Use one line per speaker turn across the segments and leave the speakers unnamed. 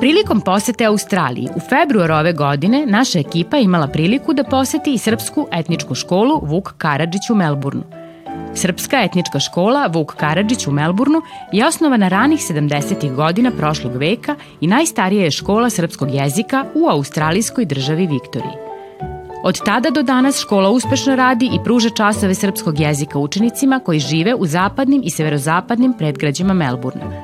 Prilikom posete Australiji u februaru ove godine naša ekipa je imala priliku da poseti i Srpsku etničku školu Vuk Karadžić u Melbourneu. Srpska etnička škola Vuk Karadžić u Melbourneu je osnovana ranih 70. godina prošlog veka i najstarija je škola srpskog jezika u australijskoj državi Viktoriji. Od tada do danas škola uspešno radi i pruža časove srpskog jezika učenicima koji žive u zapadnim i severozapadnim predgrađima Melbournea.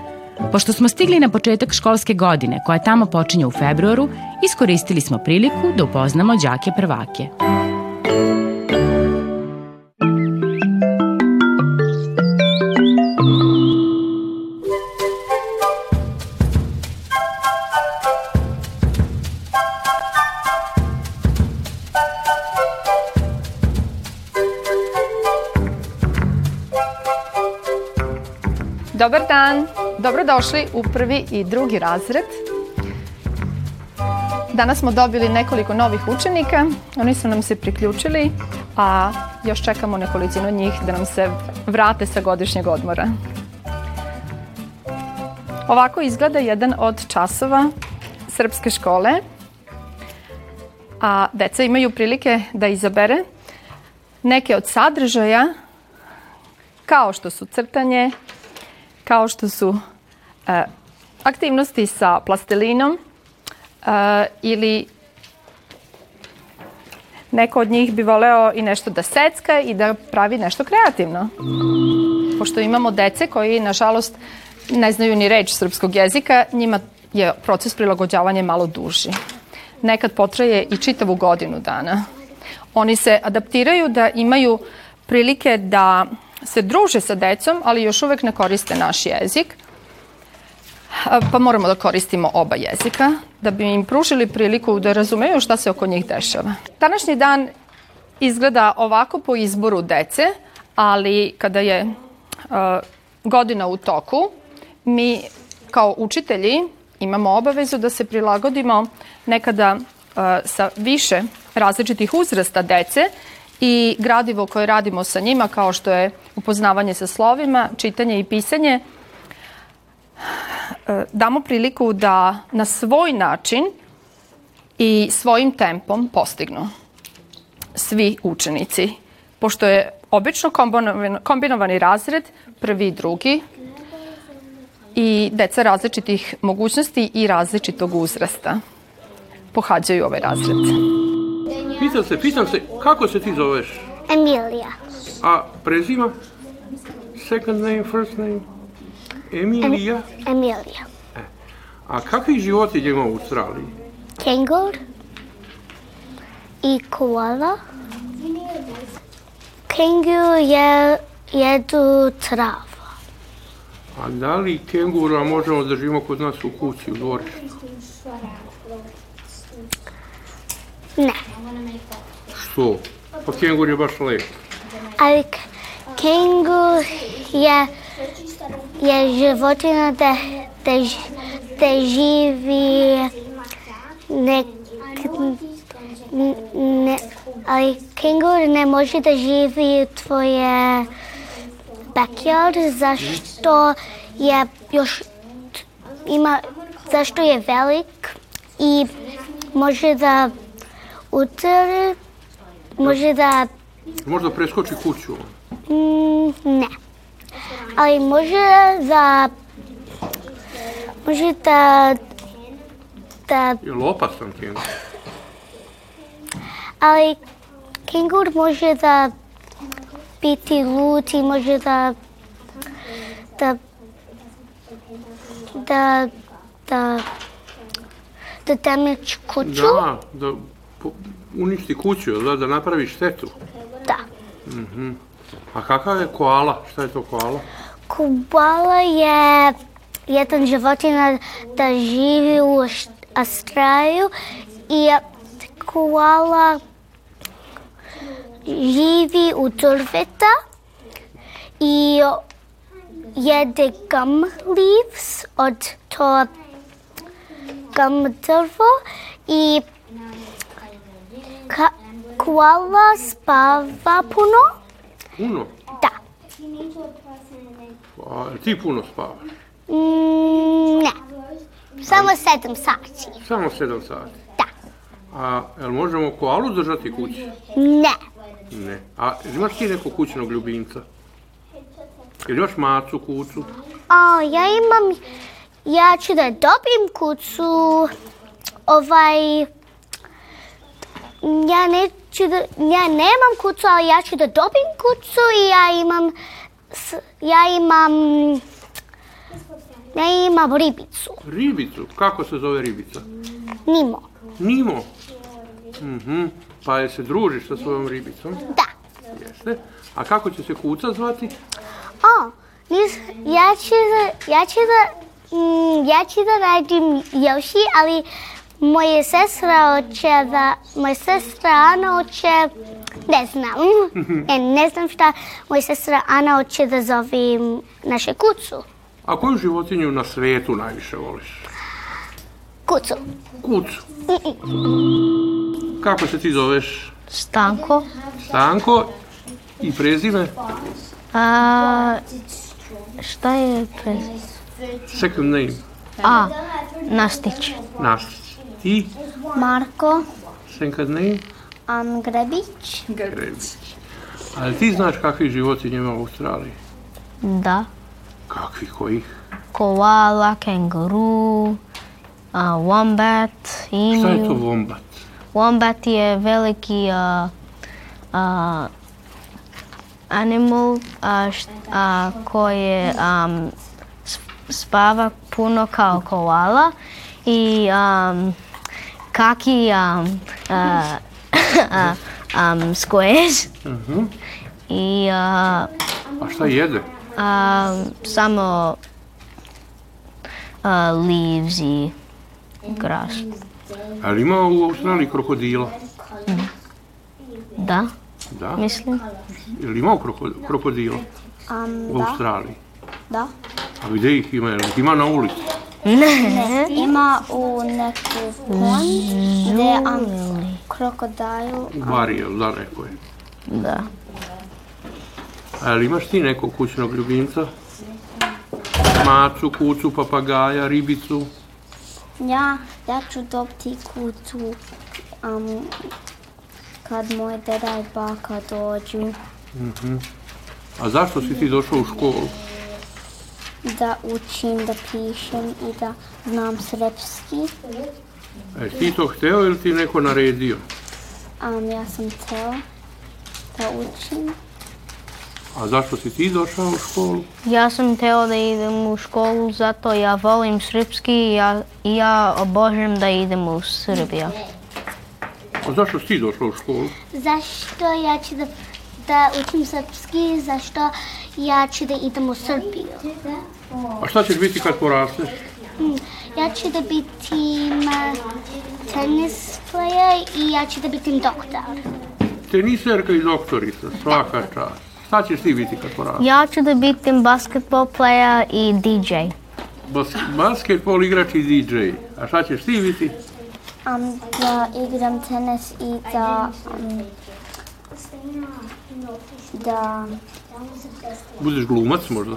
Pošto smo stigli na početak školske godine, koja tamo počinje u februaru, iskoristili smo priliku da upoznamo đake prvake.
Dobar dan, dobrodošli u prvi i drugi razred. Danas smo dobili nekoliko novih učenika, oni su nam se priključili, a još čekamo nekolicinu njih da nam se vrate sa godišnjeg odmora. Ovako izgleda jedan od časova srpske škole, a deca imaju prilike da izabere neke od sadržaja kao što su crtanje, kao što su e, aktivnosti sa plastelinom e, ili neko od njih bi voleo i nešto da secka i da pravi nešto kreativno. Pošto imamo dece koji, nažalost, ne znaju ni reč srpskog jezika, njima je proces prilagođavanja malo duži. Nekad potraje i čitavu godinu dana. Oni se adaptiraju da imaju prilike da se druže sa decom, ali još uvek ne koriste naš jezik. Pa moramo da koristimo oba jezika da bi im pružili priliku da razumeju šta se oko njih dešava. Današnji dan izgleda ovako po izboru dece, ali kada je uh, godina u toku, mi kao učitelji imamo obavezu da se prilagodimo nekada uh, sa više različitih uzrasta dece i gradivo koje radimo sa njima kao što je upoznavanje sa slovima, čitanje i pisanje e, damo priliku da na svoj način i svojim tempom postignu svi učenici. Pošto je obično kombinovani razred, prvi i drugi, i deca različitih mogućnosti i različitog uzrasta pohađaju ovaj razred.
Pitam se, pitam se, kako se ti zoveš?
Emilija.
A prezima? Second name, first name? Emilija?
Emilija.
A kakvi životinje ima u Australiji?
Kengur. I koala. Kengur je, jedu travu.
A da li kengura možemo da živimo kod nas u kući, u dvorištu?
Ne.
Što? Pa kengur je baš lep.
Ali k- kengur je, je životinja da, da, ž- da živi ne, ne, ali kengur ne može da živi u tvoje backyard zašto je još t- ima zašto je velik i može da utr može da
Možda preskoči kuću.
Mm, ne. Ali može da... Može da... da
Je li opasan kengur?
ali kengur može da biti lud i može da... da... da... da... da damage kuću.
Da, da po- uništi kuću, jel da, da napravi štetu.
da.
A kakav je koala? Šta je to koala?
Kubala je jedan životina da živi u Št- Australiju i koala živi u drveta i jede gum leaves od to gum drvo i ka, koala spava puno.
Puno?
Da.
A, jel ti puno spavaš?
Mm, ne. Samo sedam sati.
Samo 7 sati.
Da.
A jel možemo koalu držati kući?
Ne.
Ne. A imaš ti nekog kućnog ljubimca? Jel imaš macu, kucu?
A, ja imam, ja ću da dobijem kucu, ovaj, ja neću da, ja nemam kucu, ali ja ću da dobijem kucu i ja imam, s- ja imam, ja imam ribicu,
Ribicu. Kako se zove ribica?
Nimo,
Nimo. Mhm. Pa je se družiš sa svojom ribicom?
da.
Jeste. A kako će se kuca zvati?
O, nis, ja ću da, ja ću da, mm, ja ću da radim još, i, ali moje sestra hoće da, moja sestra Ana hoće, ne znam, ja ne znam šta, moja sestra Ana hoće da zove naše kucu.
A koju životinju na svetu najviše voliš?
Kucu.
Kucu. Kako se ti zoveš?
Stanko.
Stanko i prezime?
A, šta je prez...
Second name.
A, Nastić.
Nastić. I
Marko
second name?
Angrebić.
Rebić. Ali ti znaš kakvih životinja ima u Australiji?
Da.
Kakvih kojih?
Koala, kenguru, a, wombat,
Šta je to
inju.
vombat?
Wombat je veliki uh, a, a, animal a, št- a, koje am, s- spava puno kao koala i am, kaki um, am, a, a, am, um, squares i uh, a,
A šta jede?
a, samo a, leaves i gras.
Ali ima u Australiji krokodila?
Da,
Da.
mislim.
Jel imao kroko- krokodila u Australiji?
Da.
A gdje ih ima? Jel ih ima na ulici?
Ima u neku kon gde je krokodil.
U bari, jel da neko je?
Da.
A jel imaš ti nekog kućnog ljubimca? Macu, kucu, papagaja, ribicu?
Ja, ja ću dobiti kucu kad moj deda i baka dođu
A zašto si ti došao u školu?
da učim, da pišem i da znam srpski.
E, ti to hteo ili ti neko naredio?
Um, ja sam htjela da učim.
A zašto si ti došao u školu?
Ja sam teo da idem u školu, zato ja volim srpski i ja, i ja obožem da idem u Srbiju.
A zašto si ti došao u školu?
Zašto ja ću da, da učim srpski? Zašto ja ću da idem u Srbiju?
A šta ćeš biti kad porasteš?
Ja ću da bitim eh, tenis player i ja ću da bitim doktor.
Teniserka i doktorica, svaka čast. Šta ćeš ti biti kad porasteš?
Ja ću da bitim basketball player i DJ.
Bas, basketbol igrač i DJ. A šta ćeš ti biti?
Um, da igram tenis i da... Um, da
Budeš glumac možda?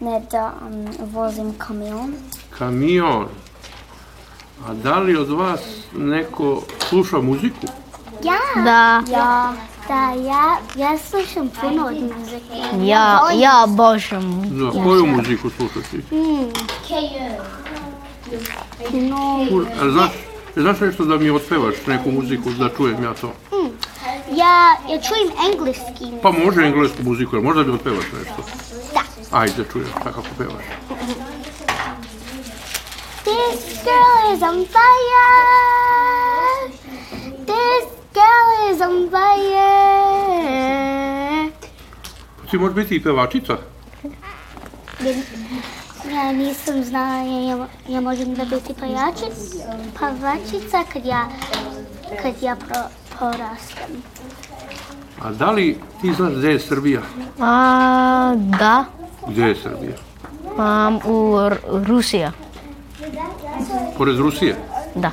ne da um, vozim kamion.
Kamion. A da li od vas neko sluša muziku?
Ja,
Da,
ja, da, ja, ja slušam puno od muzike.
ja,
Oh,
ja obožem.
Za koju muziku slušaš ti?
mm.
Kur- a Znaš, znaš nešto da mi otpevaš neku muziku da čujem ja to?
Ja, ja čujem engleski.
Pa može englesku muziku, ali možda bi otpevaš nešto? Da. Ajde, da čujem, šta kako pevaš.
This girl is on fire. This girl is on fire.
Ti možeš biti i pevačica?
Ja nisam znala, ja, ja, ja možem da biti pajačic, pavačica kad ja, kad ja pro, porastem.
A da li ti znaš gdje je Srbija?
A, da,
Gdje je Srbija?
am, u R- Rusija.
Pored Rusije?
Da.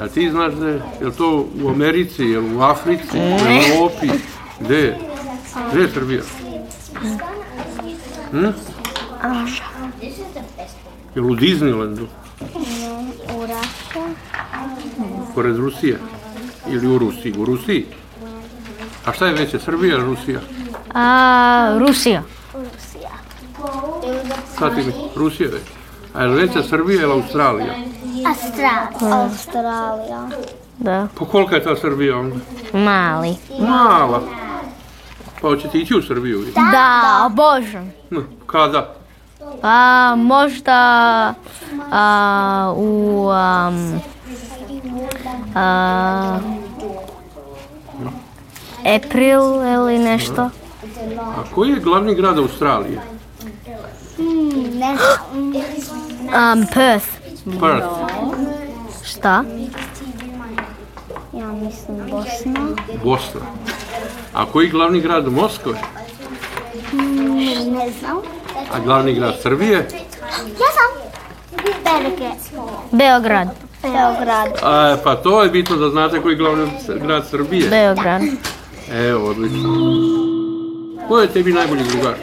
A ti znaš da je, je li to u Americi, je li u Africi, je li u Europi, gdje je? Gdje je Srbija? Hm? Jel u Disneylandu,
U Russia.
pored Rusije? Ili u Rusiji? U Rusiji? A šta je veće, Srbija ili Rusija?
A, Rusija.
Rusija.
Šta ti mi? Rusija je veća. A je li veća Srbija ili Australija?
Australija. Australija.
Da.
Pa kolika je ta Srbija onda?
Mali.
Mala. Pa hoćete ići u Srbiju? vi?
Da, obožem.
Hm, Kada?
Pa možda a, u... am, a, april ili nešto.
A koji je glavni grad Australije?
Mm, ne znam.
Um, Perth.
Perth.
Šta?
Ja mislim Bosna.
Bosna. A koji je glavni grad Moskve?
Ne znam.
A glavni grad Srbije?
Ja sam. Belge.
Beograd.
Beograd.
A, pa to je bitno da znate koji je glavni grad Srbije.
Beograd.
Evo, odlično. Ko je tebi najbolji drugar?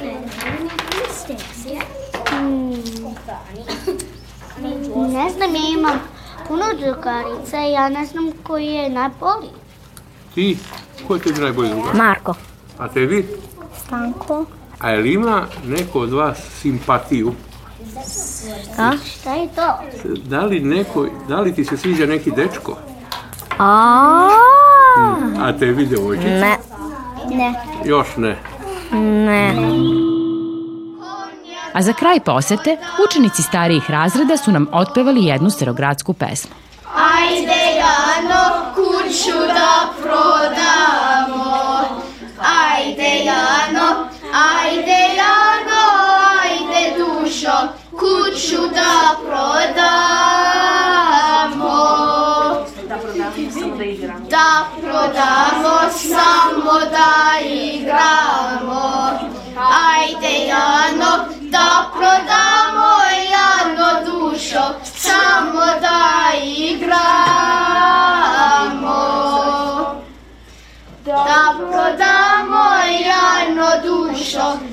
Hmm. Ne znam, ja imam puno drugarica i ja ne znam koji je najbolji.
Ti? Ko je tebi najbolji drugar?
Marko.
A tebi?
Stanko.
A je li ima neko od vas simpatiju?
Šta je to?
Da li, neko, da li ti se sviđa neki dečko?
A,
A tebi djevojčica?
ne,
Ne.
Još ne.
ne.
A za kraj posete, učenici starijih razreda su nam otpevali jednu starogradsku pesmu.
Ajde Jano, kuću da prodamo. Ajde Jano, ajde Jano, ajde dušo, kuću da prodamo. Da prodamo, samo da igramo. Ajde Jano, da prodamo Jano dušo, samo da igramo. Da prodamo jajno dušo,